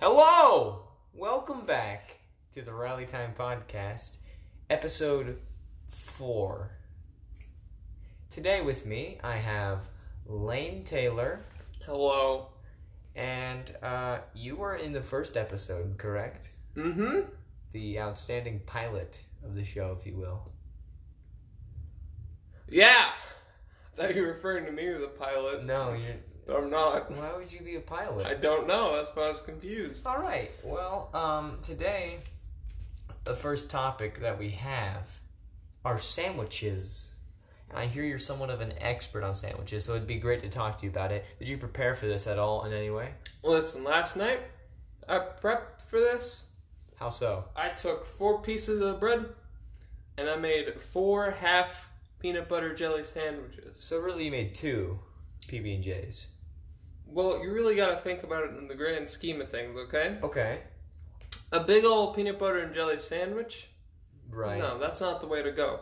Hello! Welcome back to the Rally Time Podcast, episode four. Today with me, I have Lane Taylor, Hello. and uh, you were in the first episode, correct? Mm-hmm. The outstanding pilot of the show, if you will. Yeah. I thought you were referring to me as a pilot. No, you're. but I'm not. Why would you be a pilot? I don't know. That's why I was confused. All right. Well, um, today, the first topic that we have are sandwiches. And I hear you're somewhat of an expert on sandwiches, so it'd be great to talk to you about it. Did you prepare for this at all in any way? Listen, last night I prepped for this. How so? I took four pieces of bread and I made four half peanut butter jelly sandwiches. So really, you made two PB and J's. Well, you really gotta think about it in the grand scheme of things, okay? Okay. A big old peanut butter and jelly sandwich? Right. No, that's not the way to go.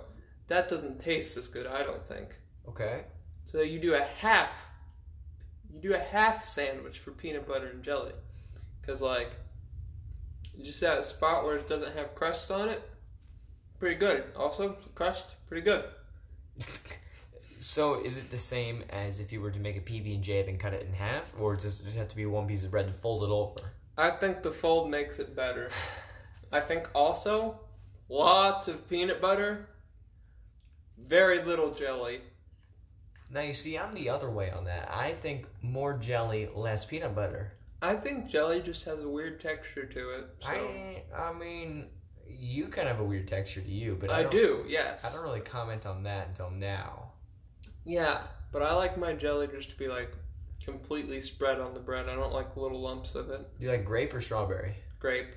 That doesn't taste as good, I don't think. Okay. So you do a half, you do a half sandwich for peanut butter and jelly, cause like, just that spot where it doesn't have crusts on it, pretty good. Also crust, pretty good. So is it the same as if you were to make a PB and J then cut it in half, or does it just have to be one piece of bread and fold it over? I think the fold makes it better. I think also, lots of peanut butter, very little jelly. Now you see, I'm the other way on that. I think more jelly, less peanut butter. I think jelly just has a weird texture to it. So I, I, I mean, you kind of have a weird texture to you, but I, don't- do, yes. I don't really comment on that until now. Yeah, but I like my jelly just to be like completely spread on the bread. I don't like little lumps of it. Do you like grape or strawberry? Grape.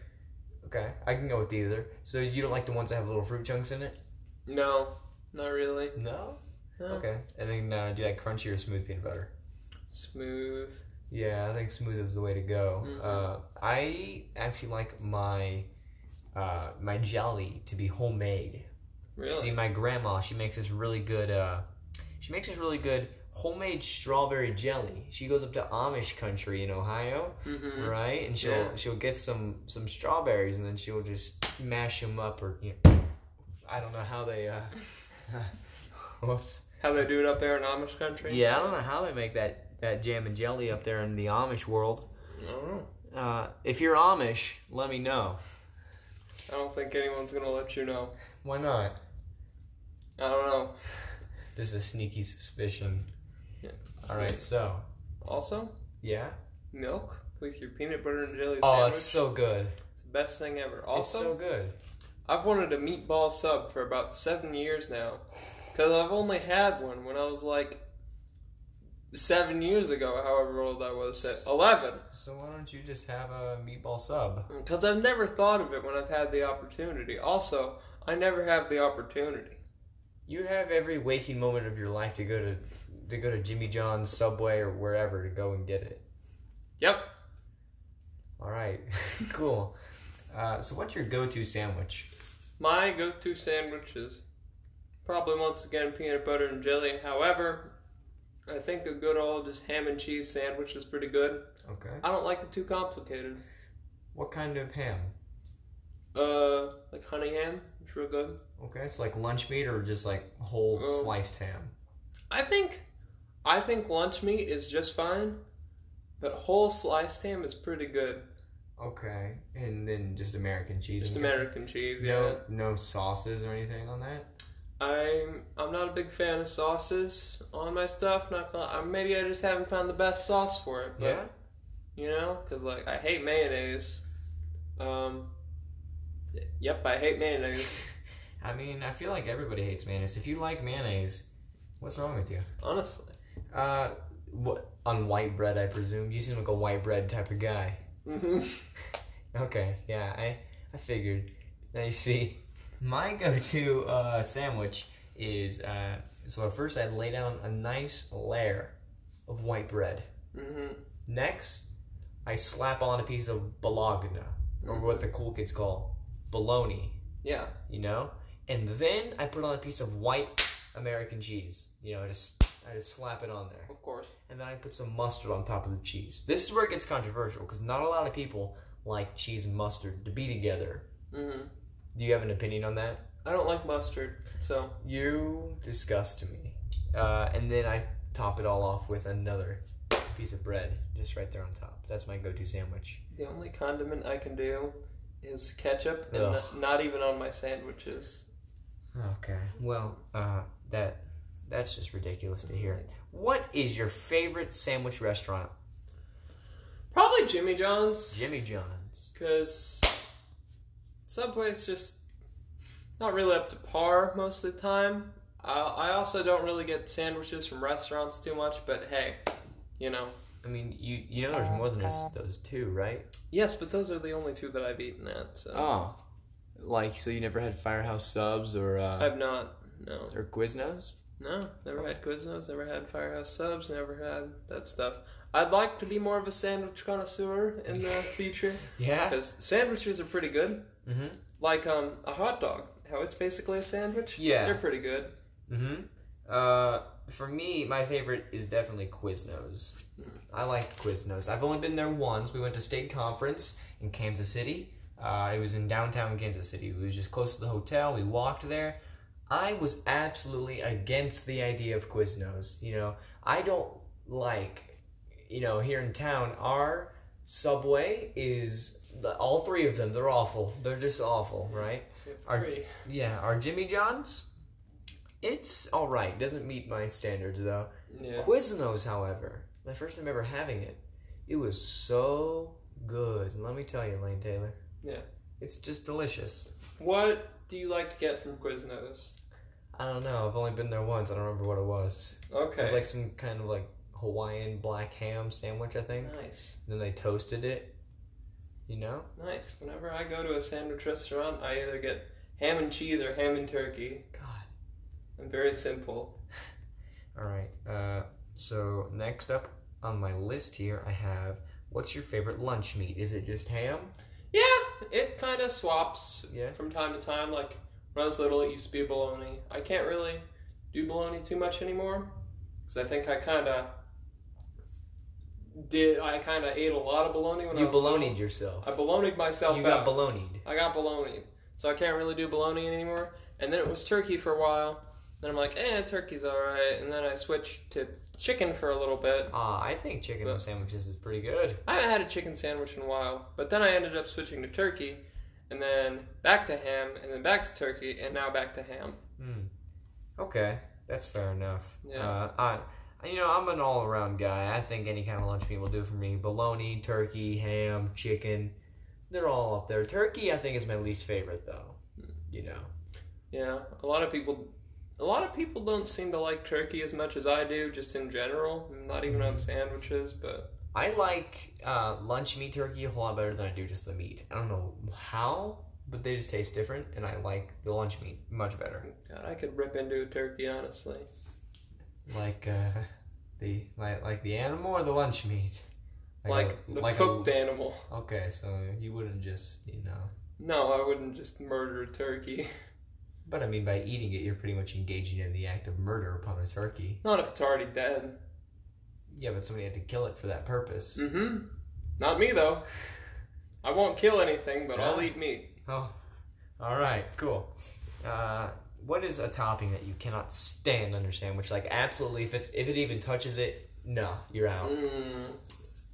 Okay, I can go with either. So you don't like the ones that have little fruit chunks in it? No, not really. No. No. Okay, and then uh, do you like crunchy or smooth peanut butter? Smooth. Yeah, I think smooth is the way to go. Mhm. Uh, I actually like my uh, my jelly to be homemade. See, Really? my grandma, she makes this really good. Uh, she makes this really good homemade strawberry jelly. She goes up to Amish country in Ohio, Mm-hmm. right? And she'll Yeah. she'll get some some strawberries and then she'll just mash them up or you know, I don't know how they. Uh, whoops. How they do it up there in Amish country? Yeah, I don't know how they make that that jam and jelly up there in the Amish world. I don't know. Uh, if you're Amish, let me know. I don't think anyone's gonna let you know. Why not? I don't know. There's a sneaky suspicion. Yeah. All right, so Also, yeah. milk with your peanut butter and jelly Oh, sandwich. it's so good. It's the best thing ever. Also, Also, good. I've wanted a meatball sub for about seven years now. Because I've only had one when I was like seven years ago, however old I was, at 11. So why don't you just have a meatball sub? Because I've never thought of it when I've had the opportunity. Also, I never have the opportunity. You have every waking moment of your life to go to to go to Jimmy John's, Subway, or wherever to go and get it. Yep. All right, cool. Uh, so what's your go-to sandwich? My go to sandwich is probably once again peanut butter and jelly. However, I think a good old just ham and cheese sandwich is pretty good. Okay. I don't like it too complicated. What kind of ham? Uh, like honey ham, it's real good. Okay, it's like lunch meat or just like whole Um, sliced ham. I think I think lunch meat is just fine, but whole sliced ham is pretty good. Okay, and then just American cheese. Just I'm guessing. American cheese, yeah. No, no sauces or anything on that. I'm I'm not a big fan of sauces on my stuff. Not gonna, I- maybe I just haven't found the best sauce for it. But, Yeah? You know, because like I hate mayonnaise. Um. Yep, I hate mayonnaise. I mean, I feel like everybody hates mayonnaise. If you like mayonnaise, what's wrong with you? Honestly, Uh, what on white bread? I presume you seem like a white bread type of guy. hmm Okay, yeah, I I figured. Now you see, my go-to uh, sandwich is uh, so at first I lay down a nice layer of white bread. hmm Next, I slap on a piece of bologna or what the cool kids call bologna, Yeah. you know, and then I put on a piece of white American cheese. You know, I just I just slap it on there Of course. and then I put some mustard on top of the cheese. This is where it gets controversial because not a lot of people like cheese and mustard to be together. hmm Do you have an opinion on that? I don't like mustard, so You disgust me. Uh, and then I top it all off with another piece of bread just right there on top. That's my go-to sandwich. the only condiment I can do is ketchup, and Ugh. n- not even on my sandwiches. Okay. Well, uh, that that's just ridiculous to hear. What is your favorite sandwich restaurant? Probably Jimmy John's, Jimmy John's. because Subway's just not really up to par most of the time. I, I also don't really get sandwiches from restaurants too much, but hey, you know. I mean, you you know there's more than just those two, right? Yes, but those are the only two that I've eaten at. So. Oh. Like so you never had Firehouse Subs or uh, I've not. No, or Quiznos? no, never had Quiznos, never had Firehouse Subs, never had that stuff. I'd like to be more of a sandwich connoisseur in the future Yeah. because sandwiches are pretty good. Mhm. Like um, a hot dog, how it's basically a sandwich. Yeah. they're pretty good. Mm-hmm. Uh, for me, my favorite is definitely Quiznos. I like Quiznos. I've only been there once. We went to state conference in Kansas City. Uh, it was in downtown Kansas City. We was just close to the hotel. We walked there. I was absolutely against the idea of Quiznos. You know, I don't like, you know, here in town, our Subway is the, all three of them. They're awful. They're just awful, right? Are- Free. Yeah, our Jimmy John's, it's all right. Doesn't meet my standards though. Yeah. Quiznos, however, my first time ever having it, it was so good. And Let me tell you, Lane Taylor. Yeah. it's just delicious. What do you like to get from Quiznos? I don't know. I've only been there once. I don't remember what it was. It Okay. was like some kind of like Hawaiian black ham sandwich, I think. nice, Then they toasted it. You know? nice. Whenever I go to a sandwich restaurant, I either get ham and cheese or ham and turkey. God. I'm very simple. All right. Uh, so next up on my list here, I have what's your favorite lunch meat? Is it just ham? Yeah, it kind of swaps. Yeah. from time to time. Like when I was little, it used to be bologna. I can't really do bologna too much anymore because I think I kind of did. I kind of ate a lot of bologna when I You was baloneyed little. yourself. I bolognaed myself You out. got baloneyed. I got bolognaed, so I can't really do bologna anymore. And then it was turkey for a while. Then I'm like, eh, turkey's all right. And then I switched to chicken for a little bit. Ah, I think chicken But- sandwiches is pretty good. I haven't had a chicken sandwich in a while, but then I ended up switching to turkey, and then back to ham, and then back to turkey, and now back to ham. Hmm. Okay, that's fair enough. Yeah. Uh, I. You know, I'm an all-around guy. I think any kind of lunch meat will do for me. Bologna, turkey, ham, chicken, they're all up there. Turkey, I think, is my least favorite, though. Hmm. You know. Yeah, a lot of people, a lot of people don't seem to like turkey as much as I do, just in general. Not even Mm-hmm. on sandwiches, but I like uh, lunch meat turkey a whole lot better than I do just the meat. I don't know how, but they just taste different, and I like the lunch meat much better. God, I could rip into a turkey honestly. Like uh, the like, like the animal or the lunch meat. Like, a- the like a- cooked animal. okay, so you wouldn't just you know. No, I wouldn't just murder a turkey. But I mean, by eating it, you're pretty much engaging in the act of murder upon a turkey. Not if it's already dead. Yeah, but somebody had to kill it for that purpose. Mm-hmm. Not me though. I won't kill anything, but I'll eat meat. Oh, all right, cool. Uh, what is a topping that you cannot stand on your sandwich? Like, absolutely, if it's if it even touches it, no, you're out. Mm.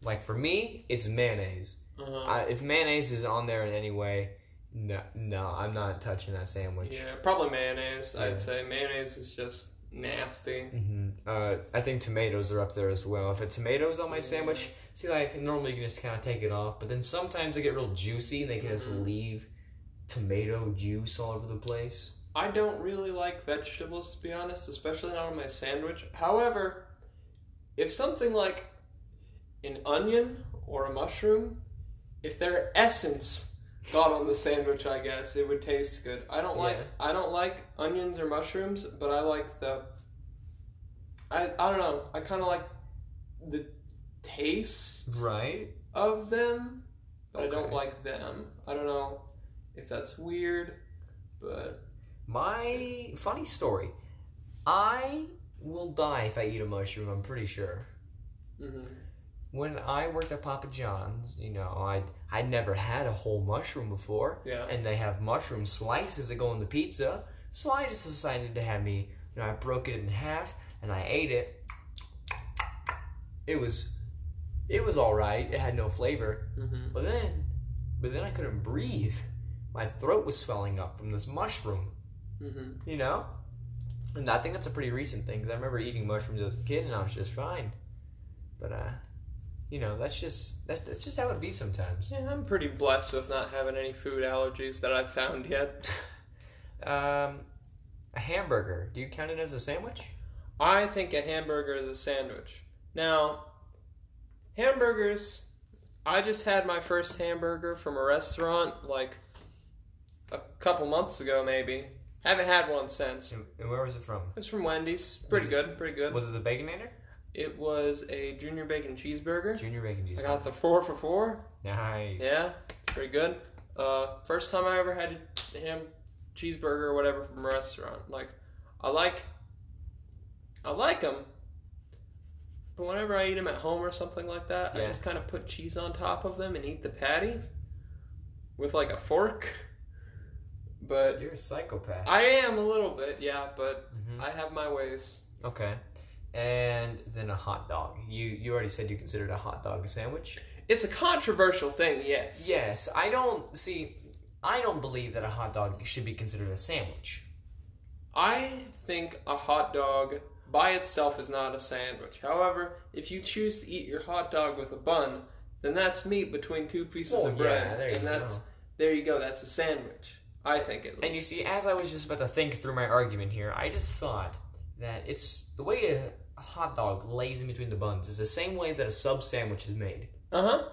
Like for me, it's mayonnaise. Uh-huh. I, if mayonnaise is on there in any way, no, no, I'm not touching that sandwich. Yeah, probably mayonnaise. Yeah. I'd say mayonnaise is just nasty. hmm Uh, I think tomatoes are up there as well. If a tomato's on my Yeah. sandwich, see, like normally you can just kind of take it off, but then sometimes they get real juicy and they can just Mhm. leave tomato juice all over the place. I don't really like vegetables to be honest, especially not on my sandwich. However, if something like an onion or a mushroom, if their essence got on the sandwich, I guess it would taste good. I don't like Yeah. I don't like onions or mushrooms, but I like the I I don't know. I kind of like the taste Right. of them, but I don't Okay. like them. I don't know if that's weird, but My funny story. I will die if I eat a mushroom, I'm pretty sure. mhm. when I worked at Papa John's, you know, I I never had a whole mushroom before, Yeah. and they have mushroom slices that go in the pizza. So I just decided to have me. You know, I broke it in half and I ate it. It was, it was all right. It had no flavor, Mm-hmm. but then, but then I couldn't breathe. My throat was swelling up from this mushroom Mm-hmm. you know? And I think that's a pretty recent thing, 'cause I remember eating mushrooms as a kid and I was just fine. But, uh, you know, that's just, that, that's just how it be sometimes. Yeah, I'm pretty blessed with not having any food allergies that I've found yet. Um, a hamburger, do you count it as a sandwich? I think a hamburger is a sandwich. Now, hamburgers, I just had my first hamburger from a restaurant like a couple months ago, maybe. Haven't had one since. It And and where was it from? was from Wendy's. Pretty good, pretty good. Was it the Baconator? It was a junior bacon cheeseburger. Junior Bacon I Cheeseburger. got the four for four. Nice. Yeah, pretty good. Uh, first time I ever had a ham cheeseburger or whatever from a restaurant. Like, I like, I like them, but whenever I eat them at home or something like that, I Yeah. just kind of put cheese on top of them and eat the patty with like a fork. But You're a psychopath. I am a little bit, yeah. But Mhm. I have my ways. Okay. And then a hot dog. You you already said you considered a hot dog a sandwich. It's a controversial thing, yes. Yes, I don't see. I don't believe that a hot dog should be considered a sandwich. I think a hot dog by itself is not a sandwich. However, if you choose to eat your hot dog with a bun, then that's meat between two pieces Well, of bread, Oh, yeah, there and you that's go. there you go. That's a sandwich. I think at And least. you see, as I was just about to think through my argument here, I just thought that it's the way a a hot dog lays in between the buns is the same way that a sub sandwich is made. Uh huh.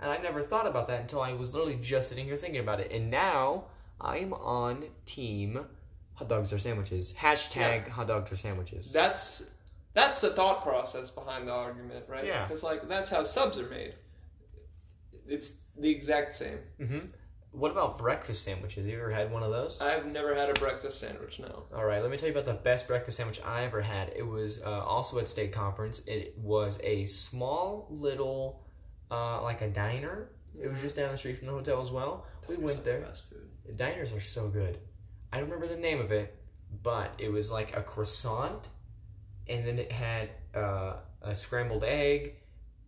And I never thought about that until I was literally just sitting here thinking about it. And now I'm on team hot dogs are sandwiches. Hashtag hot dogs are sandwiches. That's that's the thought process behind the argument, right? Yeah. Because like that's how subs are made. It's the exact same. hmm What about breakfast sandwiches? You ever had one of those? I've never had a breakfast sandwich now. All right, let me tell you about the best breakfast sandwich I ever had. It was uh, also at state conference. It was a small little, uh, like a diner. It was just down the street from the hotel as well. We went there. Fast food. Diners are so good. I don't remember the name of it, but it was like a croissant, and then it had uh, a scrambled egg,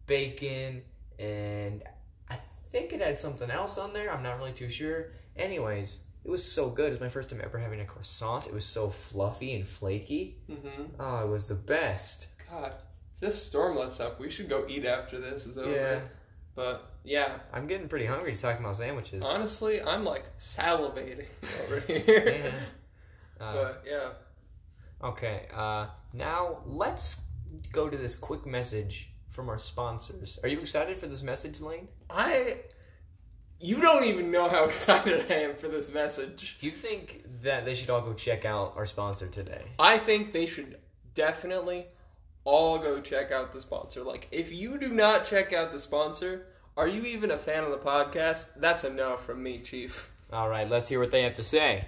bacon, and I think it had something else on there. I'm not really too sure. Anyways, it was so good. It was my first time ever having a croissant. It was so fluffy and flaky. Mm-hmm. Oh, it was the best. God, if this storm lets up, we should go eat after this is over. Yeah. But yeah, I'm getting pretty hungry talking about sandwiches. honestly, I'm like salivating over here. Yeah. Uh, But yeah, Okay, uh, now let's go to this quick message from our sponsors. Are you excited for this message, Lane? I. You don't even know how excited I am for this message. Do you think that they should all go check out our sponsor today? I think they should definitely all go check out the sponsor. Like, if you do not check out the sponsor, are you even a fan of the podcast? That's a no from me, Chief. All right, let's hear what they have to say.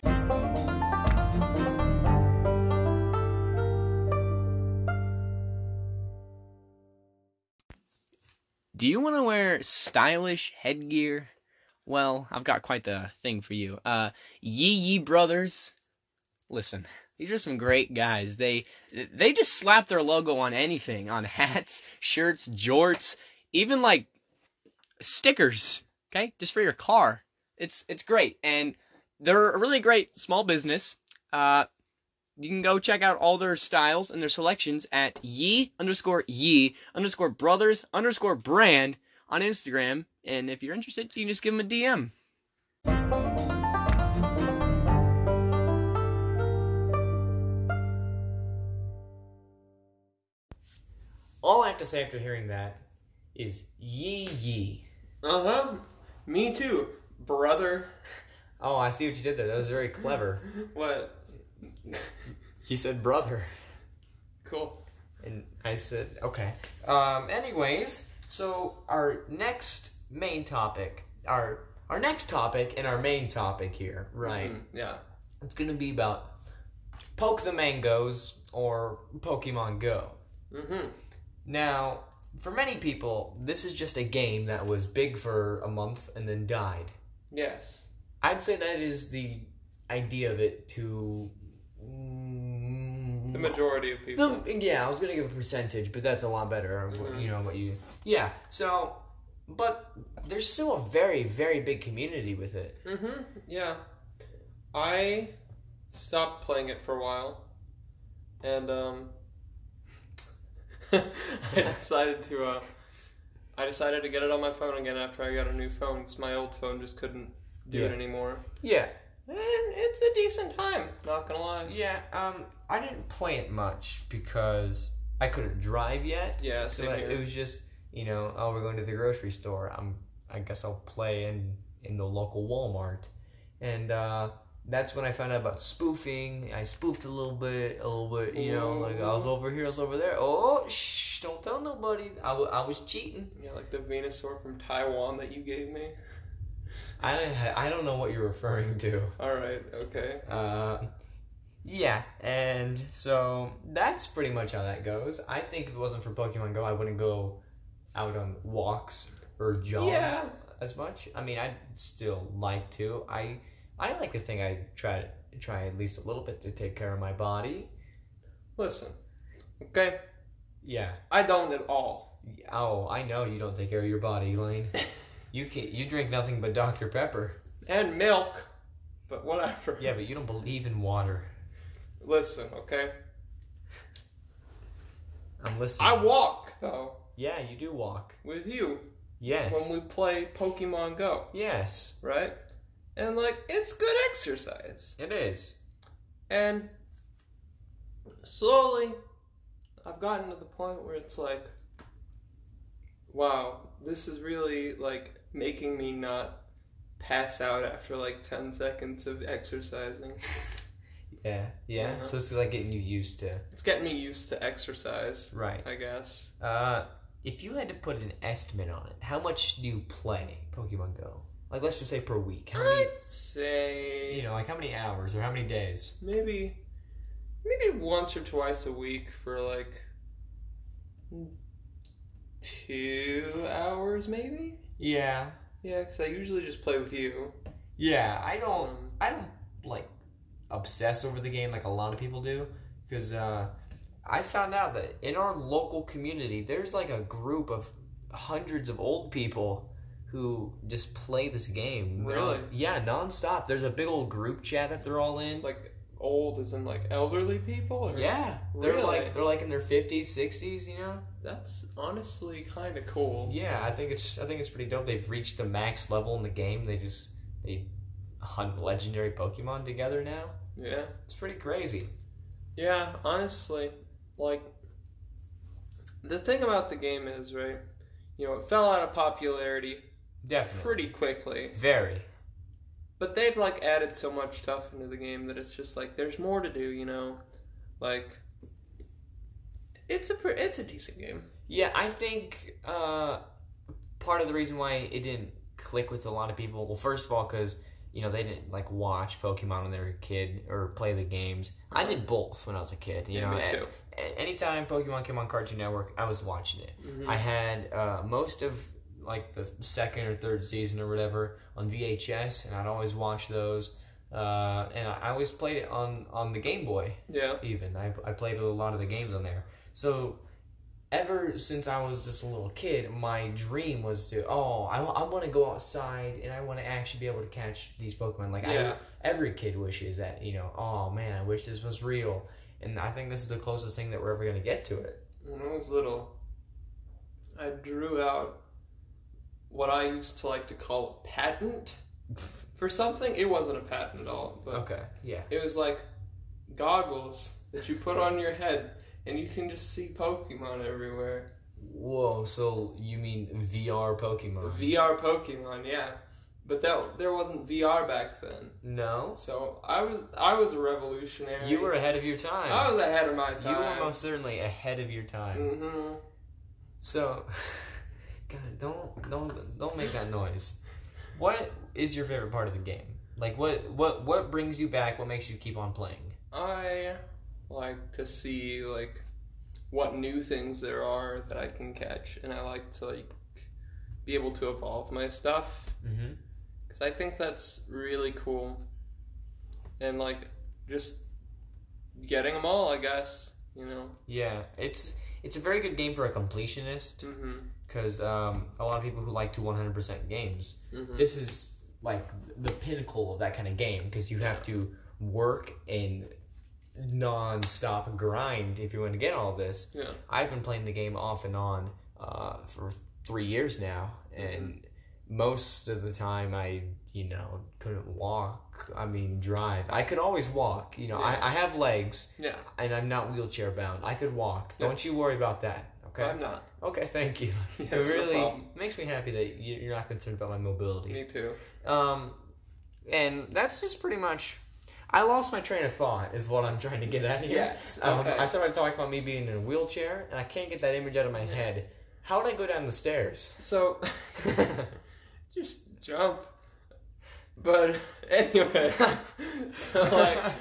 Do you want to wear stylish headgear? Well, I've got quite the thing for you. Uh, Yee Yee Brothers. Listen, these are some great guys. They they just slap their logo on anything, on hats, shirts, jorts, even like stickers. Okay, just for your car. It's it's great, and they're a really great small business. Uh, you can go check out all their styles and their selections at ye underscore ye underscore brothers underscore brand on Instagram. And if you're interested, you can just give them a DM. All I have to say after hearing that is yee yee. Uh huh. Me too, brother. Oh, I see what you did there. That was very clever. What? You said brother. Cool. And I said, okay. Um, anyways, so our next main topic, our our next topic and our main topic here, right? Mm, yeah. It's gonna be about poke the mangoes or Pokemon Go. Mm-hmm. Now, for many people, this is just a game that was big for a month and then died. Yes. I'd say that is the idea of it to. The majority of people. The, yeah, I was gonna give a percentage, but that's a lot better. what- You know what you? Yeah. So, but there's still a very, very big community with it. Mm-hmm. Yeah. I stopped playing it for a while, and um, I decided to uh, I decided to get it on my phone again after I got a new phone because my old phone just couldn't do Yeah. it anymore. Yeah. And it's a decent time. Not gonna lie. Yeah. Um, I didn't play it much because I couldn't drive yet. Yeah. So Same like, here. it was just you know, oh, we're going to the grocery store. I'm, I guess I'll play in in the local Walmart, and uh, that's when I found out about spoofing. I spoofed a little bit, a little bit. You know, like I was over here, I was over there. Oh, shh! Don't tell nobody. I wa- I was cheating. yeah, like the Venusaur from Taiwan that you gave me. I don't, ha- I don't know what you're referring to. All right. Okay. Uh, yeah, and so that's pretty much how that goes. I think if it wasn't for Pokemon Go, I wouldn't go out on walks or jogs Yeah. as much. I mean, I'd still like to. I I like to think I try try at least a little bit to take care of my body. Listen. Okay. Yeah. I don't at all. Oh, I know you don't take care of your body, Lane. You can you drink nothing but Dr Pepper. And milk. But whatever. Yeah, but you don't believe in water. Listen. Okay. I'm listening. I walk though yeah, you do walk. with you Yes. when we play Pokemon Go, yes, right? And like it's good exercise. it is. And slowly I've gotten to the point where it's like wow, this is really like making me not pass out after like 10 seconds of exercising. Yeah, yeah. Yeah. So it's like getting you used to. It's getting me used to exercise, Right. I guess. Uh, if you had to put an estimate on it, how much do you play Pokemon Go? Like, let's just say per week. How many? I'd say You know, like how many hours or how many days? maybe maybe once or twice a week for like two hours maybe Yeah, yeah because i usually just play with you yeah. I don't, um, I don't like obsess over the game like a lot of people do, because uh, I found out that in our local community, there's like a group of hundreds of old people who just play this game. Really? Yeah, nonstop. There's a big old group chat that they're all in. like old as in like elderly people or Yeah, they're Really? like they're like in their fifties, sixties. You know. that's honestly kind of cool Yeah, I think it's I think it's pretty dope. They've reached the max level in the game. They just they hunt legendary Pokemon together now. yeah It's pretty crazy. yeah honestly like the thing about the game is right you know it fell out of popularity Definitely. pretty quickly Very. But they've like added so much stuff into the game that it's just like there's more to do, you know. Like it's a pre- it's a decent game. Yeah, I think uh, part of the reason why it didn't click with a lot of people. Well, first of all, because you know they didn't like watch Pokemon when they were a kid or play the games. I did both when I was a kid. You Yeah, know, me a- too. a- anytime Pokemon came on Cartoon Network, I was watching it. I had uh, most of like the second or third season or whatever on VHS, and I'd always watch those. Uh, and I I always played it on on the Game Boy. Yeah. Even I I played a lot of the games on there. So ever since I was just a little kid, my dream was to oh I, want to go outside and I want to actually be able to catch these Pokemon. Like Yeah. I, every kid wishes that you know oh man I wish this was real. And I think this is the closest thing that we're ever gonna get to it. When I was little, I drew out what I used to like to call a patent for something. It wasn't a patent at all, but Okay. Yeah. it was like goggles that you put on your head and you can just see Pokemon everywhere. Whoa. So you mean VR Pokemon? VR Pokemon, yeah. But that there wasn't VR back then. no. So I was I was a revolutionary. You were ahead of your time. I was ahead of my you time. were most certainly ahead of your time. hmm So, God, don't don't don't make that noise. What is your favorite part of the game? Like, what what what brings you back? What makes you keep on playing? I like to see like what new things there are that I can catch, and I like to like be able to evolve my stuff Mm-hmm. because I think that's really cool, and like just getting them all, I guess you know. Yeah, it's it's a very good game for a completionist hmm because um, a lot of people who like to 100% games. Mhm. This is like the pinnacle of that kind of game because you have to work and non-stop grind if you want to get all this. Yeah. I've been playing the game off and on uh, for three years now, and Mm-hmm. most of the time I, you know, couldn't walk. I mean, drive. I could always walk. You know, Yeah. I, I have legs, Yeah. and I'm not wheelchair bound. I could walk. Yeah. Don't you worry about that. Okay. I'm not. Okay. Thank you. it Yes, no really problem. makes me happy that you- you're not concerned about my mobility. Me too. Um, and that's just pretty much. I lost my train of thought, is what I'm trying to get at here. Yes, okay. Um, I started talking about me being in a wheelchair, and I can't get that image out of my head. How would I go down the stairs? So just jump. But anyway, so like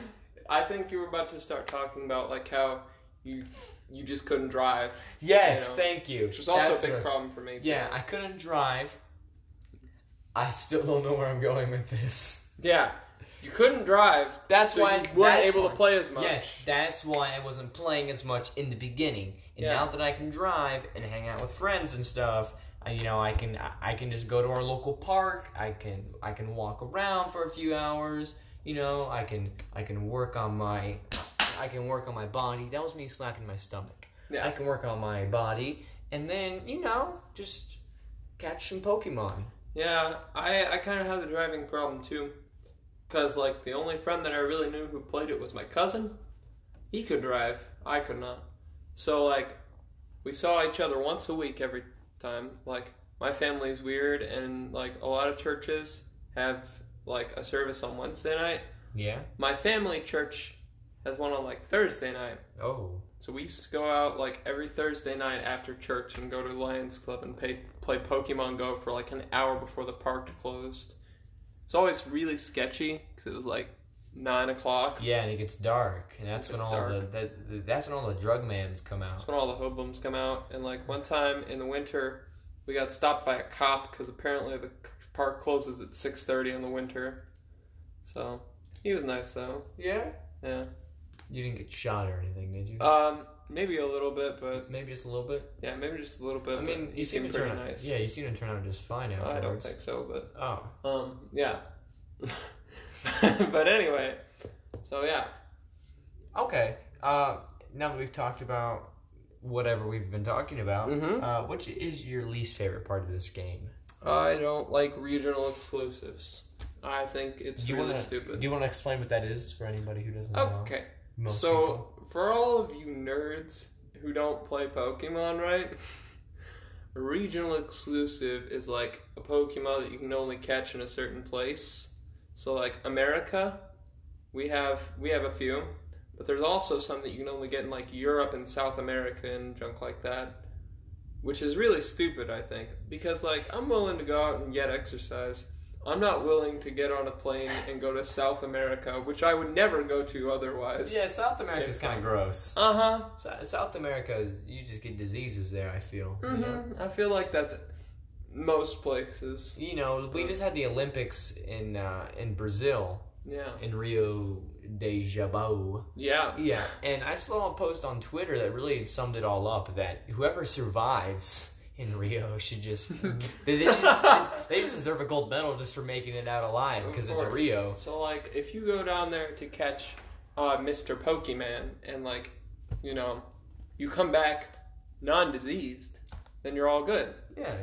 I think you were about to start talking about like how you you just couldn't drive, yes, You know, thank you. which was also That's a big the- problem for me. Too. Yeah, I couldn't drive. I still don't know where I'm going with this. yeah, you couldn't drive. That's so why you weren't that's able why- to play as much. Yes, that's why I wasn't playing as much in the beginning. And Yeah. now that I can drive and hang out with friends and stuff, I, you know, I can I- I can just go to our local park. I can I can walk around for a few hours. You know, I can I can work on my I can work on my body. That was me slapping my stomach. Yeah. I can work on my body, and then you know just catch some Pokemon. Yeah, I I kind of had the driving problem too, cause like the only friend that I really knew who played it was my cousin. He could drive, I could not. So like, we saw each other once a week every time. Like my family's weird, and like a lot of churches have like a service on Wednesday night. Yeah. My family church has one on like Thursday night. Oh. So we used to go out like every Thursday night after church and go to Lions Club and pay, play Pokemon Go for like an hour before the park closed. It's always really sketchy because it was like nine o'clock. Yeah, and it gets dark, and that's It when gets all dark. the that, that- that's when all the drug mans come out. That's when all the hoodlums come out. And like one time in the winter, we got stopped by a cop because apparently the c- park closes at six thirty in the winter. So he was nice though. Yeah. Yeah. You didn't get shot or anything, did you? Um, maybe a little bit, but Uh, Maybe just a little bit. yeah, maybe just a little bit. I mean, but you he seem to seemed turn pretty out. nice. Yeah, you seem to turn out just fine afterwards. I don't think so, but. Oh, Um, yeah. but anyway, so yeah, okay. Uh, now that we've talked about whatever we've been talking about, Mhm. uh, which is your least favorite part of this game? I don't like regional exclusives. I think it's Do you really wanna- stupid. Do you want to explain what that is for anybody who doesn't know? okay, Most so people. for all of you nerds who don't play Pokemon, right? Regional exclusive is like a Pokemon that you can only catch in a certain place. So like America, we have we have a few, but there's also some that you can only get in like Europe and South America and junk like that. which is really stupid, I think, because like I'm willing to go out and get exercise. I'm not willing to get on a plane and go to South America, which I would never go to otherwise. yeah, South America's kind of gross. Uh huh. Sou- South America, is- you just get diseases there. I feel. you know? hmm I feel like that's most places. You know, we just had the Olympics in uh, in Brazil Yeah. in Rio de Janeiro. Yeah. Yeah, and I saw a post on Twitter that really summed it all up. That whoever survives in Rio should just they, they should- they just deserve a gold medal just for making it out alive because Of it's course. Rio. So like, if you go down there to catch uh, Mr. Pokemon and like, you know, you come back non-diseased, then you're all good. Yeah,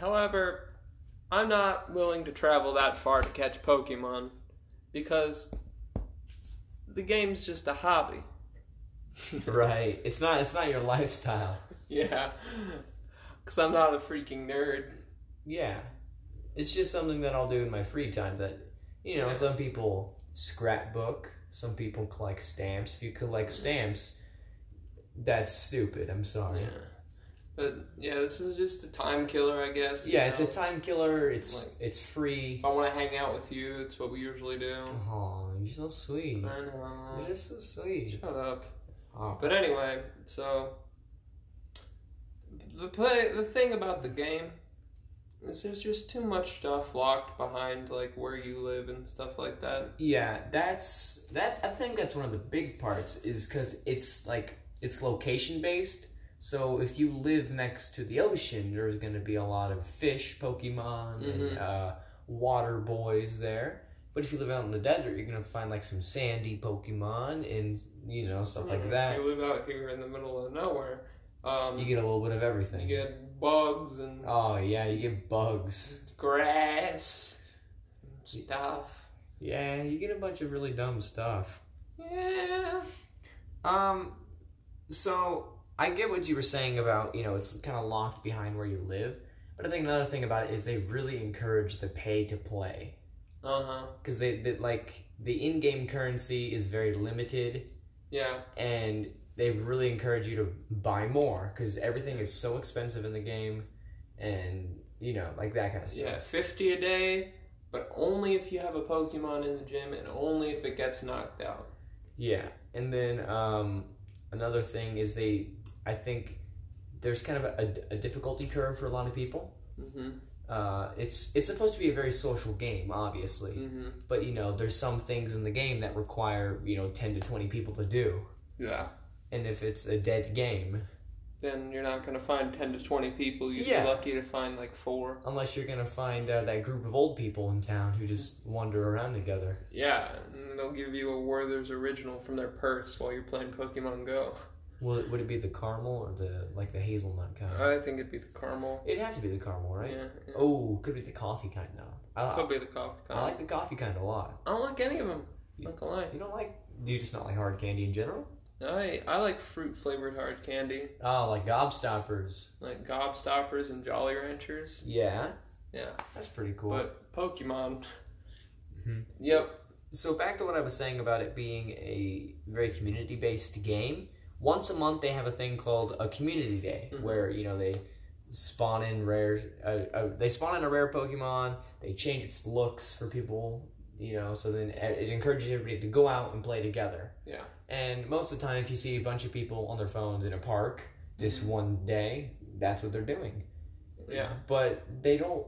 However, I'm not willing to travel that far to catch Pokemon because the game's just a hobby. right. It's not it's not your lifestyle. Yeah. Because I'm not a freaking nerd. Yeah, it's just something that I'll do in my free time. That you know, Yeah. some people scrapbook, some people collect stamps. If you collect stamps, that's stupid. I'm sorry. Yeah. But yeah, this is just a time killer, I guess. Yeah, you it's know? a time killer. It's Like- it's free. If I want to hang out with you, it's what we usually do. Oh, you're so sweet. I know. You're just so sweet. Shut up. Oh, But anyway, so the play the thing about the game is there's just too much stuff locked behind like where you live and stuff like that. Yeah, that's that. I think that's one of the big parts is because it's like it's location based. So if you live next to the ocean, there's going to be a lot of fish, Pokemon, and Mhm. uh, water boys there. But if you live out in the desert, you're going to find like some sandy Pokemon and Mm-hmm. you know stuff like that. If you live out here in the middle of nowhere, um, You get a little bit of everything. you get bugs and oh yeah, you get bugs. grass and stuff. Yeah, you get a bunch of really dumb stuff. Yeah. Um, so I get what you were saying about you know it's kind of locked behind where you live, but I think another thing about it is they really encourage the pay to play Uh huh. because they, they like the in-game currency is very limited Yeah. and they really encourage you to buy more because everything is so expensive in the game and you know like that kind of stuff. Yeah. Fifty a day, but only if you have a Pokemon in the gym and only if it gets knocked out. Yeah, and then um, another thing is they, I think, there's kind of a, a difficulty curve for a lot of people. Mm-hmm. Uh, it's it's supposed to be a very social game, obviously, Mm-hmm. but you know there's some things in the game that require you know ten to twenty people to do, Yeah. and if it's a dead game, Then you're not gonna find ten to twenty people. You'd Yeah. be lucky to find like four. unless you're gonna find uh, that group of old people in town who just wander around together. Yeah. And they'll give you a Werther's original from their purse while you're playing Pokemon Go. Will it, would it be the caramel or the like the hazelnut kind? I think it'd be the caramel. It'd have to be the caramel, right? Uh, Yeah. yeah. Oh, could be the coffee kind though. I, Could be the coffee. I like the coffee kind a lot. I don't like any of them. Not gonna lie. You don't like? Do you just not like hard candy in general? I I like fruit flavored hard candy, Oh, like gobstoppers. like Gobstoppers and Jolly Ranchers. Yeah, Yeah, that's pretty cool. but Pokemon. Mhm. Yep. so back to what I was saying about it being a very community-based game. Once a month, they have a thing called a community day, Mhm. where you know they spawn in rare. Uh, uh, they spawn in a rare Pokemon. They change its looks for people. You know, so then e, it it encourages everybody to go out and play together. Yeah. And most of the time, if you see a bunch of people on their phones in a park this one day, that's what they're doing. Yeah. But they don't.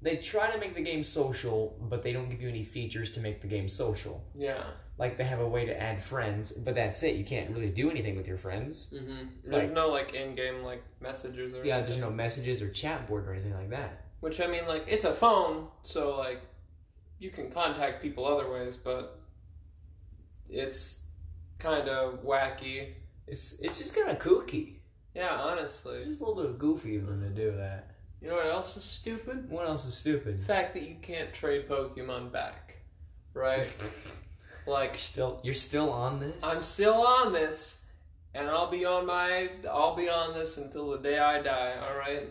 They try to make the game social, but they don't give you any features to make the game social. Yeah. Like they have a way to add friends, but that's it. You can't really do anything with your friends. Mhm. Like- There's no like in game like messages or Yeah, anything. there's no messages or chat board or anything like that. Which I mean, like it's a phone, so like you can contact people other ways, but it's kind of wacky. It's it's just kind of kooky. Yeah, honestly. It's just a little bit goofy of them to do that. You know what else is stupid? What else is The stupid? fact that you can't trade Pokemon back, right? like You're still you're still on this. I'm still on this, and I'll be on my I'll be on this until the day I die. All right.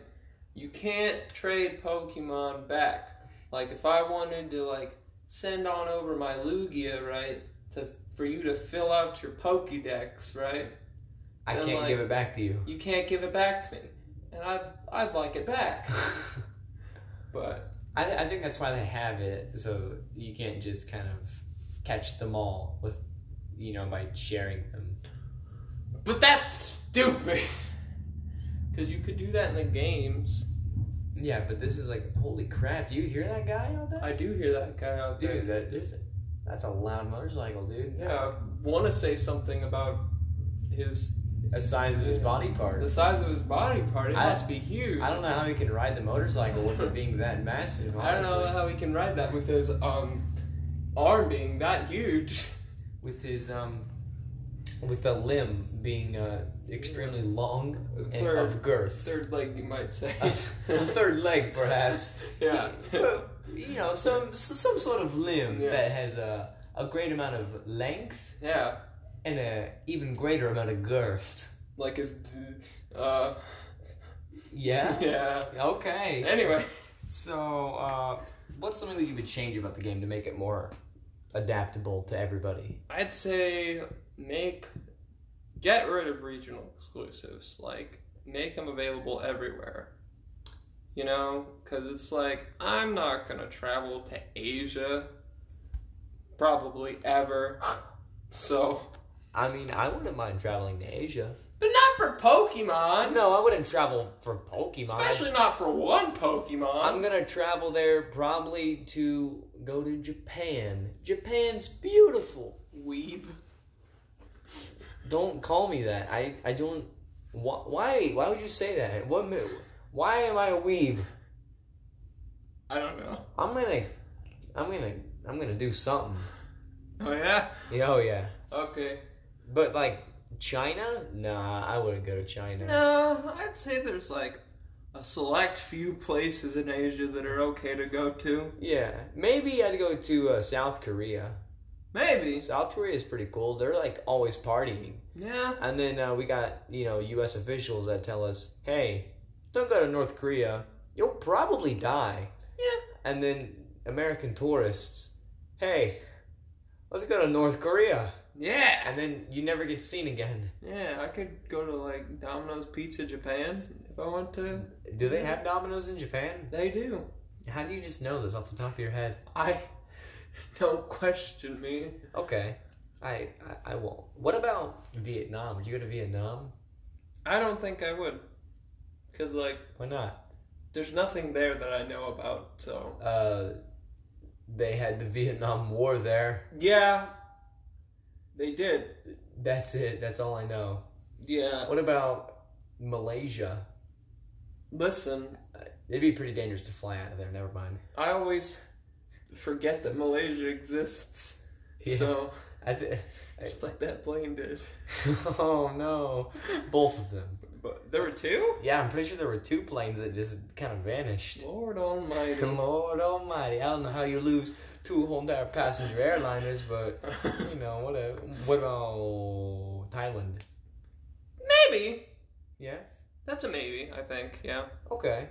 You can't trade Pokemon back. Like if I wanted to like send on over my Lugia, right, to for you to fill out your Pokédex, right? I I'm can't like- give it back to you. You can't give it back to me, and I I'd, I'd like it back, but I, I think that's why they have it, so you can't just kind of catch them all with, you know, by sharing them. but that's stupid. Cause you could do that in the games. Yeah, but this is like, holy crap! Do you hear that guy out there? I do hear that guy out there. dude, that there's a, that's a loud motorcycle, dude. Yeah, I want to say something about his the size of his body the part. size of his body part. It I- must be huge. I don't know how he can ride the motorcycle with it being that massive. Honestly. I don't know how he can ride that with his um arm being that huge. with his um, with the limb being uh, extremely long and Third- of girth. Third leg, you might say. A third leg, perhaps. Yeah. But, you know, some s- some sort of limb Yeah. that has a a great amount of length yeah, and a even greater amount of girth. like his. d- Uh, Yeah. yeah. Okay. Anyway, So, uh, what's something that you would change about the game to make it more adaptable to everybody? I'd say make get rid of regional exclusives. Like make them available everywhere. You know, because it's like I'm not gonna travel to Asia, probably ever. So I mean, I wouldn't mind traveling to Asia. But not for Pokemon. No, I wouldn't travel for Pokemon. Especially not for one Pokemon. I'm gonna travel there probably to go to Japan. Japan's beautiful. Weeb. Don't call me that. I I don't. Wh- why why would you say that? What? ma- Why am I a weeb? I don't know. I'm gonna I'm gonna I'm gonna do something. Oh yeah. Yeah, Oh yeah. Okay. But like China? Nah, I wouldn't go to China. No, I'd say there's like a select few places in Asia that are okay to go to. Yeah, maybe I'd go to uh, South Korea. Maybe. South Korea is pretty cool. They're like always partying. Yeah. And then uh, we got, you know, U.S. officials that tell us, hey, don't go to North Korea. You'll probably die. Yeah. And then American tourists, hey, let's go to North Korea. Yeah. And then you never get seen again. Yeah, I could go to like Domino's Pizza Japan if I want to. Do they have dominoes in Japan? They do. How do you just know this off the top of your head? I don't question me. Okay. I, I, I won't. What about Vietnam? Would you go to Vietnam? I don't think I would. Cause like Why not? there's nothing there that I know about, so Uh, they had the Vietnam War there. Yeah. They did. That's it. That's all I know. Yeah. What about Malaysia? Listen, It'd be pretty dangerous to fly out of there. Never mind. I always forget that Malaysia exists. Yeah. So I th- just like that plane did. oh no, both of them. But there were two? Yeah, I'm pretty sure there were two planes that just kind of vanished. Lord almighty. Lord Almighty, I don't know how you lose two whole entire passenger airliners, but you know what? A, what about Thailand? maybe. Yeah. That's a maybe, I think, yeah. Okay.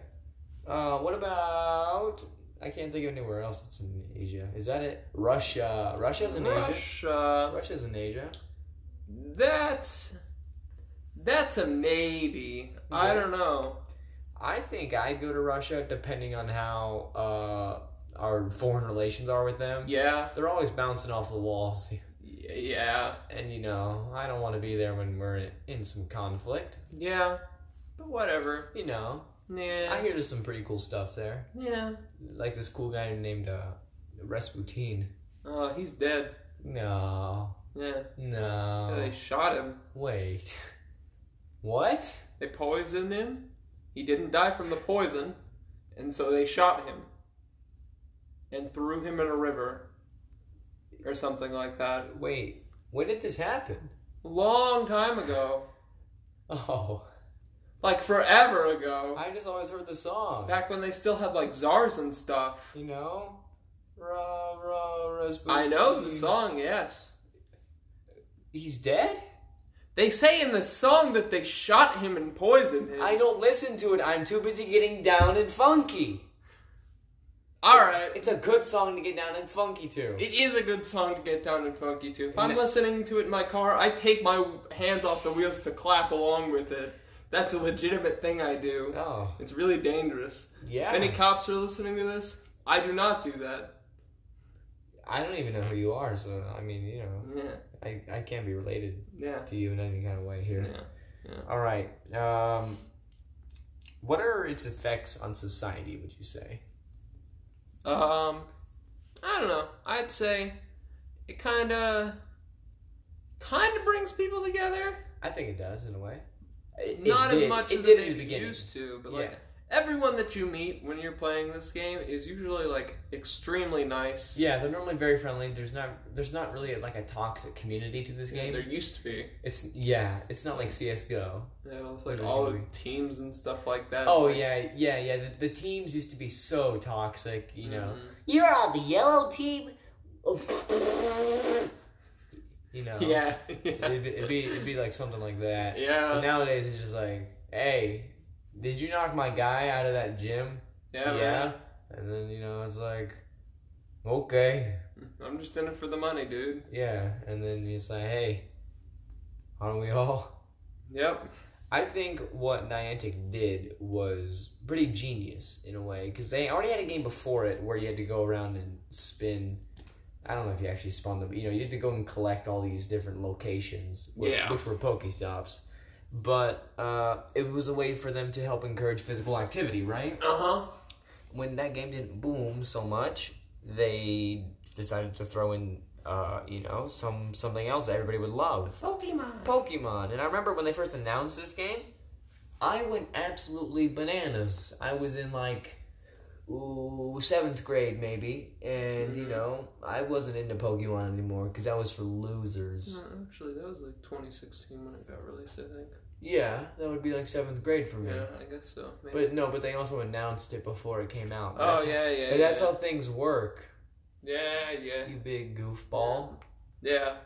Uh, what about? I can't think of anywhere else that's in Asia. Is that it? Russia. Russia's in Asia. Russia. Russia's in Asia. That's that's a maybe. I Yeah. don't know. I think I'd go to Russia depending on how uh, our foreign relations are with them. Yeah, They're always bouncing off the walls. y- yeah, And, you know, I don't want to be there when we're in some conflict. yeah. But whatever. You know, I Yeah, hear there's some pretty cool stuff there. yeah. Like this cool guy named uh, Rasputin. Oh, he's dead. No. Yeah, No. they shot him. Wait. What? They poisoned him. He didn't die from the poison, and so they shot him and threw him in a river or something like that. Wait. When did this happen? Long time ago, Oh. like forever ago, I just always heard the song. back when they still had like czars and stuff. You know? Ra, ra, Rasputin. I know the song, yes. He's dead? They say in the song that they shot him and poisoned him. I don't listen to it. I'm too busy getting down and funky. Alright. It's a good song to get down and funky to. It is a good song to get down and funky to. If I'm No. listening to it in my car, I take my hands off the wheels to clap along with it. That's a legitimate thing I do. oh, It's really dangerous. yeah. If any cops are listening to this, I do not do that. I don't even know who you are, so I mean, you know, Yeah. I, I can't be related Yeah. to you in any kind of way here. Yeah. All right. Um, what are its effects on society? Would you say? Um, I don't know. I'd say it kind of kind of brings people together. I think it does in a way. It- it Not as did- much it as did it in the maybe beginning. used to, but Yeah. like everyone that you meet when you're playing this game is usually like extremely nice. Yeah, they're normally very friendly. There's not there's not really like a toxic community to this game. There used to be. It's yeah, it's not like CS:GO. Yeah, with like There's all gonna the be. teams and stuff like that. Oh yeah, yeah, yeah. The, the teams used to be so toxic, you know. Mhm. You're on the yellow team. Oh. you know. Yeah. It'd be, it'd be it'd be like something like that. But yeah. nowadays it's just like, hey, did you knock my guy out of that gym? Yeah. yeah. And then you know it's like, okay, man. I'm just in it for the money, dude. yeah. And then you say, hey, aren't we all? Yep. I think what Niantic did was pretty genius in a way because they already had a game before it where you had to go around and spin. I don't know if you actually spawned them, but you know, you had to go and collect all these different locations, which, Yeah. which were Pokestops. but uh, it was a way for them to help encourage physical activity, right? Uh huh. When that game didn't boom so much, they decided to throw in, uh, you know, some something else that everybody would love. Pokemon. Pokemon. And I remember when they first announced this game, I went absolutely bananas. I was in like ooh, seventh grade maybe, and Mm-hmm. you know I wasn't into Pokemon anymore because that was for losers. No, actually, that was like 2016 when it got released, I think. Yeah, that would be like seventh grade for me. Yeah, I guess so. Maybe. But no, but they also announced it before it came out. oh, That's- yeah, yeah. But that's yeah. how things work, Yeah, yeah. you big goofball. Yeah.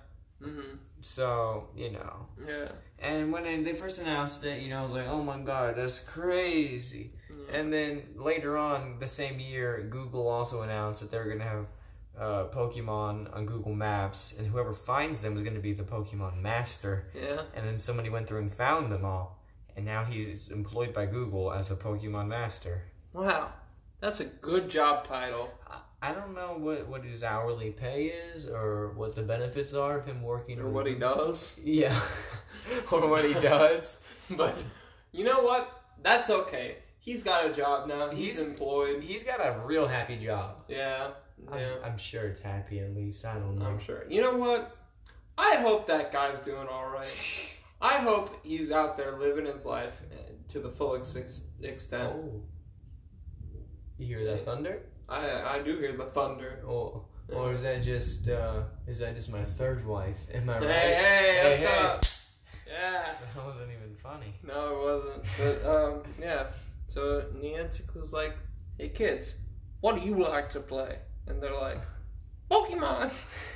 Mm-hmm. So, you know. Yeah. And when they- they first announced it, you know, I was like, oh my god, that's crazy. Yeah. And then later on the same year, Google also announced that they were going to have uh, Pokemon on Google Maps, and whoever finds them is going to be the Pokemon master. yeah. And then somebody went through and found them all, and now he's employed by Google as a Pokemon master. Wow. That's a good job title. I- I don't know what, what his hourly pay is or what the benefits are of him working Or with what he Google. does. Yeah. or what he does. But you know what? That's okay. He's got a job now. He's, He's- employed. He's got a real happy job. Yeah. Yeah. I'm, I'm sure it's happy at least. I don't know. I'm sure. You know what? I hope that guy's doing all right. I hope he's out there living his life eh, to the full ex- extent. Oh. You hear that thunder? I I do hear the thunder. Or or is that just uh is that just my third wife? Am I Hey, right? hey, Hey, up hey. top. Yeah. That wasn't even funny. No, it wasn't. But um, yeah. So Niantic was like, "Hey kids, what do you like to play?" And they're like, "Pokemon."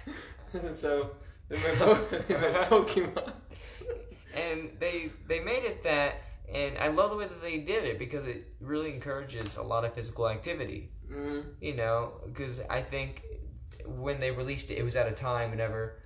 and so they made, po- they made Pokemon. And they they made it that and I love the way that they did it because it really encourages a lot of physical activity. Mm, you know, because I think when they released it, it was at a time whenever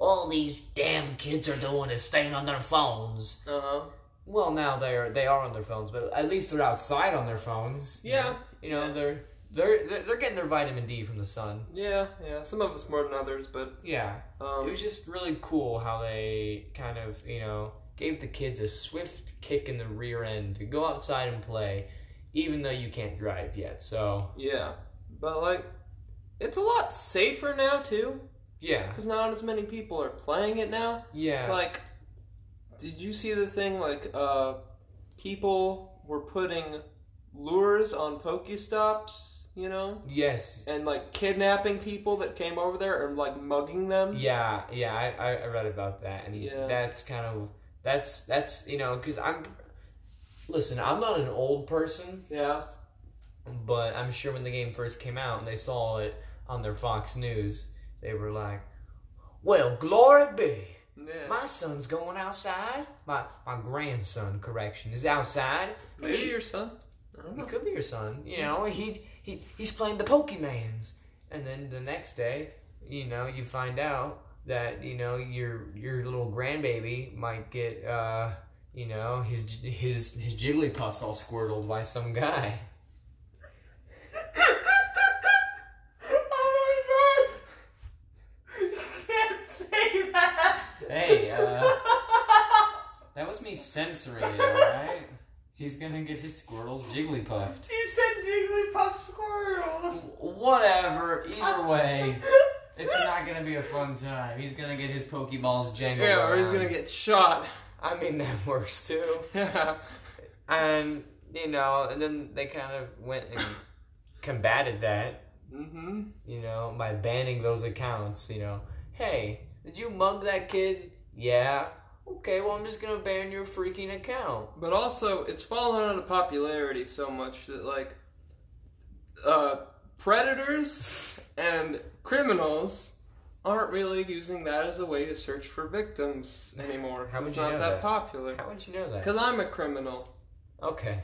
all these damn kids are doing is staying on their phones. uh huh. Well, now they are they are on their phones, but at least they're outside on their phones. you Yeah. know? you know, they're. They're, they're they're getting their vitamin D from the sun. Yeah, yeah. Some of us more than others, but Yeah, it um, was just really cool how they kind of you know gave the kids a swift kick in the rear end to go outside and play, even though you can't drive yet. So yeah. But like, it's a lot safer now too, yeah, because not as many people are playing it now. yeah, Like, did you see the thing? Like, uh, people were putting lures on Pokestops, you know, yes, and like kidnapping people that came over there and like mugging them. Yeah, yeah, I, I- I read about that, and Yeah. that's kind of that's that's you know because I'm listen, I'm not an old person, Yeah. but I'm sure when the game first came out and they saw it on their Fox News, they were like, "Well, glory be." Yeah. My son's going outside. My my grandson, correction, is outside. and Maybe he- your son. I don't he know. could be your son. You know, he he he's playing the Pokemans, and then the next day, you know, you find out that you know your your little grandbaby might get uh you know his his his Jigglypuffs all squirtled by some guy. oh my god! You can't say that. Hey, uh, that was me censoring it. All right, he's gonna get his squirtles Jigglypuffed. you said Jigglypuff squirrel. Whatever. Either way. It's not gonna be a fun time. He's gonna get his Pokeballs jangled. Yeah, or he's around. gonna get shot. I mean, that works too. Yeah. And, you know, and then they kind of went and combated that, Mm-hmm. you know, by banning those accounts, you know. Hey, did you mug that kid? Yeah. Okay, well, I'm just gonna ban your freaking account. But also, it's fallen out of popularity so much that like, uh, predators and criminals aren't really using that as a way to search for victims anymore. How would it's you not know that, that? popular. How would you know that? Cause I'm a criminal. Okay.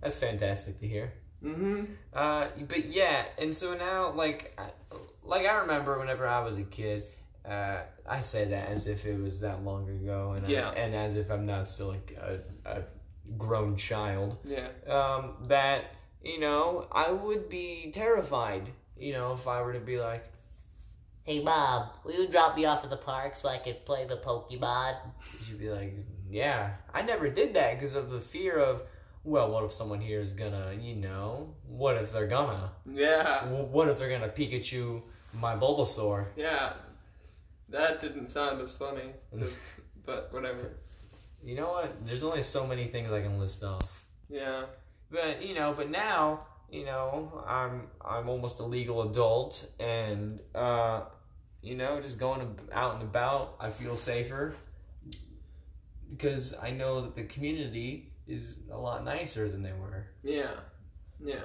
That's fantastic to hear. Mm-hmm. Uh, but yeah, and so now, like, I, like I remember whenever I was a kid, uh, I say that as if it was that long ago, and I- Yeah. and as if I'm not still like a, a grown child. Yeah. Um, that you know, I would be terrified. You know, if I were to be like, Hey, Bob, will you drop me off at the park so I can play the Pokemon? you'd be like, yeah, I never did that because of the fear of, well, what if someone here is gonna, you know, what if they're gonna, Yeah. W- what if they're gonna Pikachu my Bulbasaur? Yeah, that didn't sound as funny, 'cause- but whatever. You know what? There's only so many things I can list off. Yeah, But you know, but now you know I'm I'm almost a legal adult, and uh, you know, just going ab- out and about, I feel safer because I know that the community is a lot nicer than they were. yeah, yeah.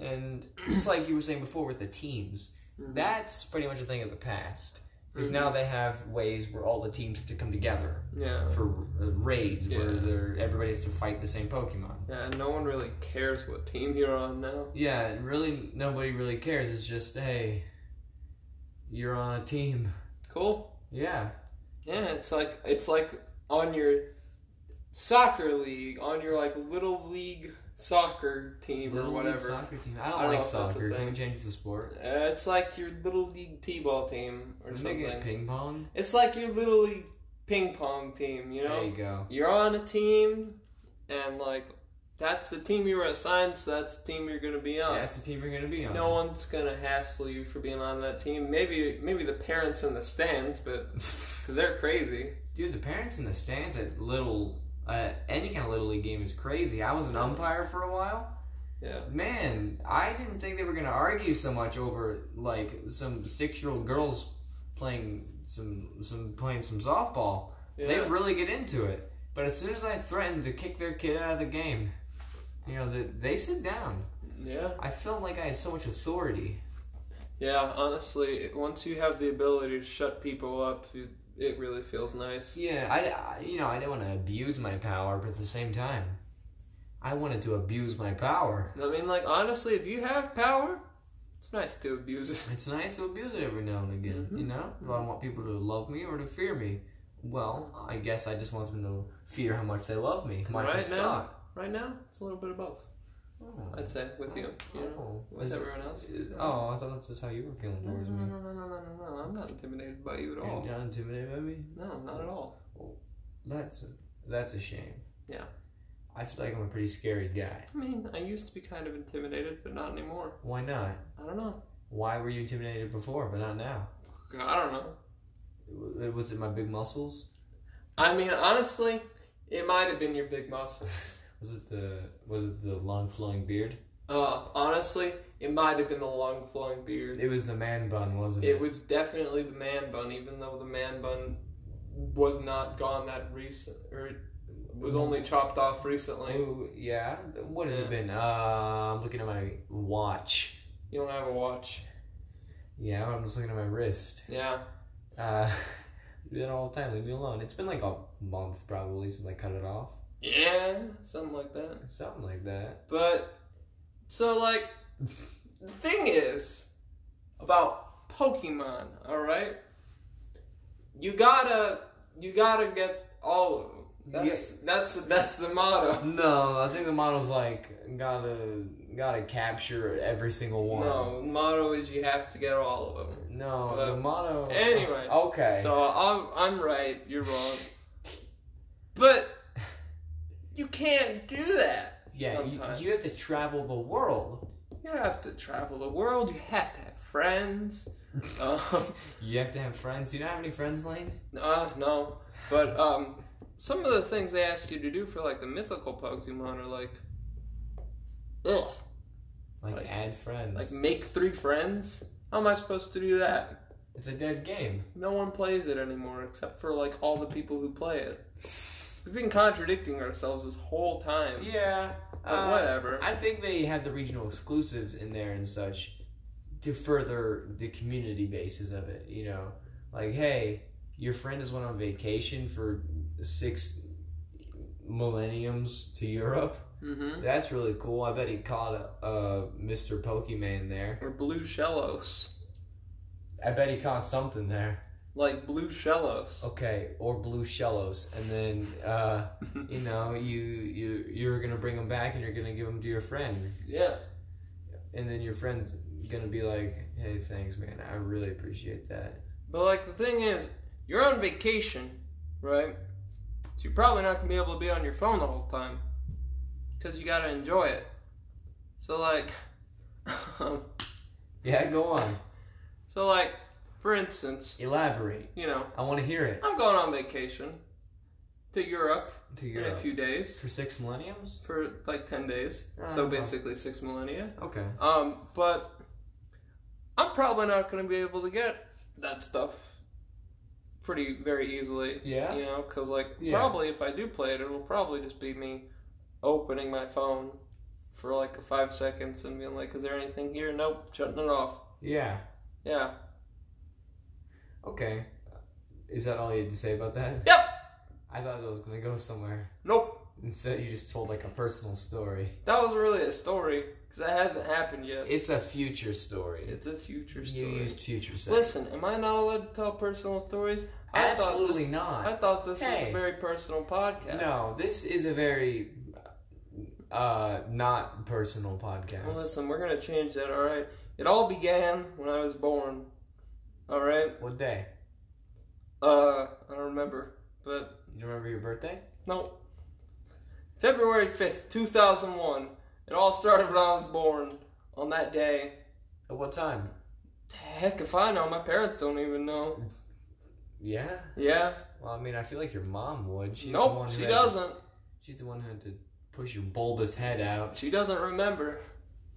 And just like you were saying before with the teams, Mhm. that's pretty much a thing of the past. Because now they have ways where all the teams have to come together Yeah, for uh, raids where Yeah. they're, everybody has to fight the same Pokemon. yeah. and No one really cares what team you're on now. Yeah, really, nobody really cares. It's just, hey, you're on a team. Cool. Yeah, Yeah, it's like it's like on your soccer league, on your like little league soccer team or Little League whatever. Soccer team. I don't, I don't know like if that's a soccer. Can we thing. change the sport? Uh, it's like your little league t-ball team or Or make it something. ping pong. It's like your little league ping pong team. You know. There you go. you're on a team, and like that's the team you were assigned, so that's the team you're gonna be on. That's the team you're gonna be on. No one's gonna hassle you for being on that team. Maybe maybe the parents in the stands, but because they're crazy. Dude, the parents in the stands at little uh, any kind of little league game is crazy. I was an umpire for a while. Yeah. Man, I didn't think they were gonna argue so much over like some six year old girls playing some some playing some softball. Yeah. They really get into it. But as soon as I threatened to kick their kid out of the game, you know, they, they sit down. yeah. I felt like I had so much authority. Yeah. Honestly, once you have the ability to shut people up, you, it really feels nice. Yeah, I, I you know, I didn't want to abuse my power, but at the same time, I wanted to abuse my power. I mean, like honestly, if you have power, it's nice to abuse it. It's nice to abuse it every now and again, Mm-hmm. you know? If I want people to love me or to fear me. Well, I guess I just want them to fear how much they love me. Michael right now, Scott. right now, it's a little bit of both. I'd say with you, you know, Oh, with is it- everyone else. oh, I thought that's just how you were feeling No, towards no, me. no, no, no, no, no, no. I'm not intimidated by you at You're Mm-hmm. all. not intimidated by me? No, not at all. That's that's a shame. Yeah. I feel like I'm a pretty scary guy. I mean, I used to be kind of intimidated, but not anymore. Why not? I don't know. Why were you intimidated before, but not now? I don't know. W- Was it my big muscles? I mean, honestly, it might have been your big muscles. Was it the was it the long flowing beard? Uh, honestly, it might have been the long flowing beard. It was the man bun, wasn't it? It was definitely the man bun, even though the man bun was not gone that recent, or it was only chopped off recently. Ooh, yeah. What has Yeah. it been? Uh, I'm looking at my watch. You don't have a watch. Yeah, I'm just looking at my wrist. Yeah. Uh, do that all the time. Leave me alone. It's been like a month probably since I cut it off. Yeah, something like that. Something like that. But so like the thing is about Pokemon, all right? You gotta you gotta get all of them. That's that's that's the motto. No, I think the model's like gotta gotta capture every single one. No, motto is you have to get all of them. No, But- the motto. uh, Anyway. Okay. So I'm I'm right, you're wrong. But you can't do that. yeah, you, sometimes. you have to travel the world. You have to travel the world. You have to have friends. Um, You have to have friends. Do you not have any friends, Lane? Uh, no. But um, some of the things they ask you to do for like the mythical Pokemon are like, ugh, Like, Like- add friends. like make three friends. How am I supposed to do that? it's a dead game. No one plays it anymore except for like all the people who play it. We've been contradicting ourselves this whole time. Yeah. But Oh, whatever. Uh, I think they have the regional exclusives in there and such to further the community basis of it. You know, like hey, your friend has went on vacation for six millenniums to Europe. mm-hmm. That's really cool. I bet he caught a, a Mr. Pokemon there. Or blue Shellos, I bet he caught something there. like blue Shellos. Okay, or blue shellos, and then uh, you know you you you're gonna bring them back and you're gonna give them to your friend, Yeah. and then your friend's gonna be like, "Hey, thanks, man. I really appreciate that." But like the thing is, you're on vacation, right? So you're probably not gonna be able to be on your phone the whole time, because you gotta enjoy it. So like, um, Yeah, go on. so like, for instance, Elaborate. you know, I want to hear it. I'm going on vacation to Europe To in a Europe. few days For six millenniums? for like ten days. Uh-huh. So basically six millennia. Okay. Um, but I'm probably not gonna be able to get that stuff pretty very easily. Yeah? You know, because like Yeah. probably if I do play it, it'll probably just be me opening my phone for like five seconds and being like, "Is there anything here?" Nope, shutting it off. Yeah. Yeah. Okay. Is that all you had to say about that? Yep. I thought it was gonna go somewhere. Nope. Instead, you just told like a personal story. That was really a story because that hasn't happened yet. It's a future story. It's a future You story. used future sex. Listen, am I not allowed to tell personal stories? I thought Absolutely this- not. I thought this was Hey. a very personal podcast. No, this is a very uh not personal podcast. Well, listen, we're gonna change that, alright? It all began when I was born. Alright? What day? Uh, I don't remember. But, You remember your birthday? no. February 5th, 2001. It all started when I was born. On that day. At what time? Heck if I know, my parents don't even know. Yeah. Yeah? Well, I mean, I feel like your mom would. She's the one nope, who she had- doesn't. She's the one who had to push your bulbous head out. She doesn't remember.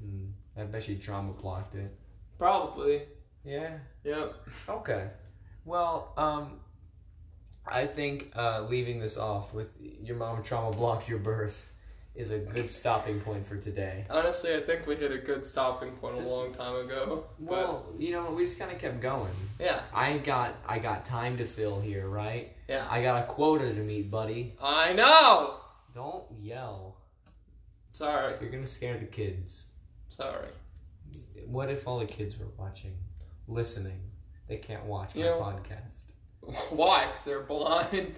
Hmm. I bet she trauma blocked it. Probably. Yeah. Yep. Okay. Well, um, I think uh, leaving this off with your mom trauma blocked your birth is a good stopping point for today. Honestly, I think we hit a good stopping point a This- long time ago. But, Well, you know, we just kind of kept going. yeah, I got I got time to fill here, right? yeah. I got a quota to meet, buddy. I know! Don't yell. Sorry, You're gonna scare the kids. sorry. What if all the kids were watching, listening? They can't watch my You know- podcast. Why? Because they're blind.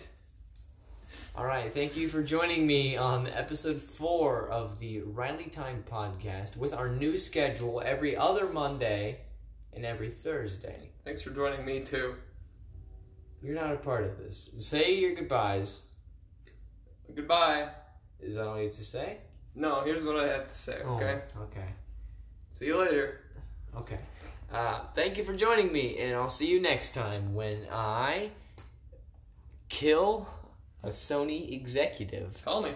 All right, thank you for joining me on episode four of the Riley Time podcast with our new schedule every other Monday and every Thursday. Thanks for joining me too. You're not a part of this. Say your goodbyes. Goodbye. Is that all you have to say? No, here's what I have to say, Oh, okay? okay. See you later. Okay. Uh, thank you for joining me, and I'll see you next time when I kill a Sony executive. Call me.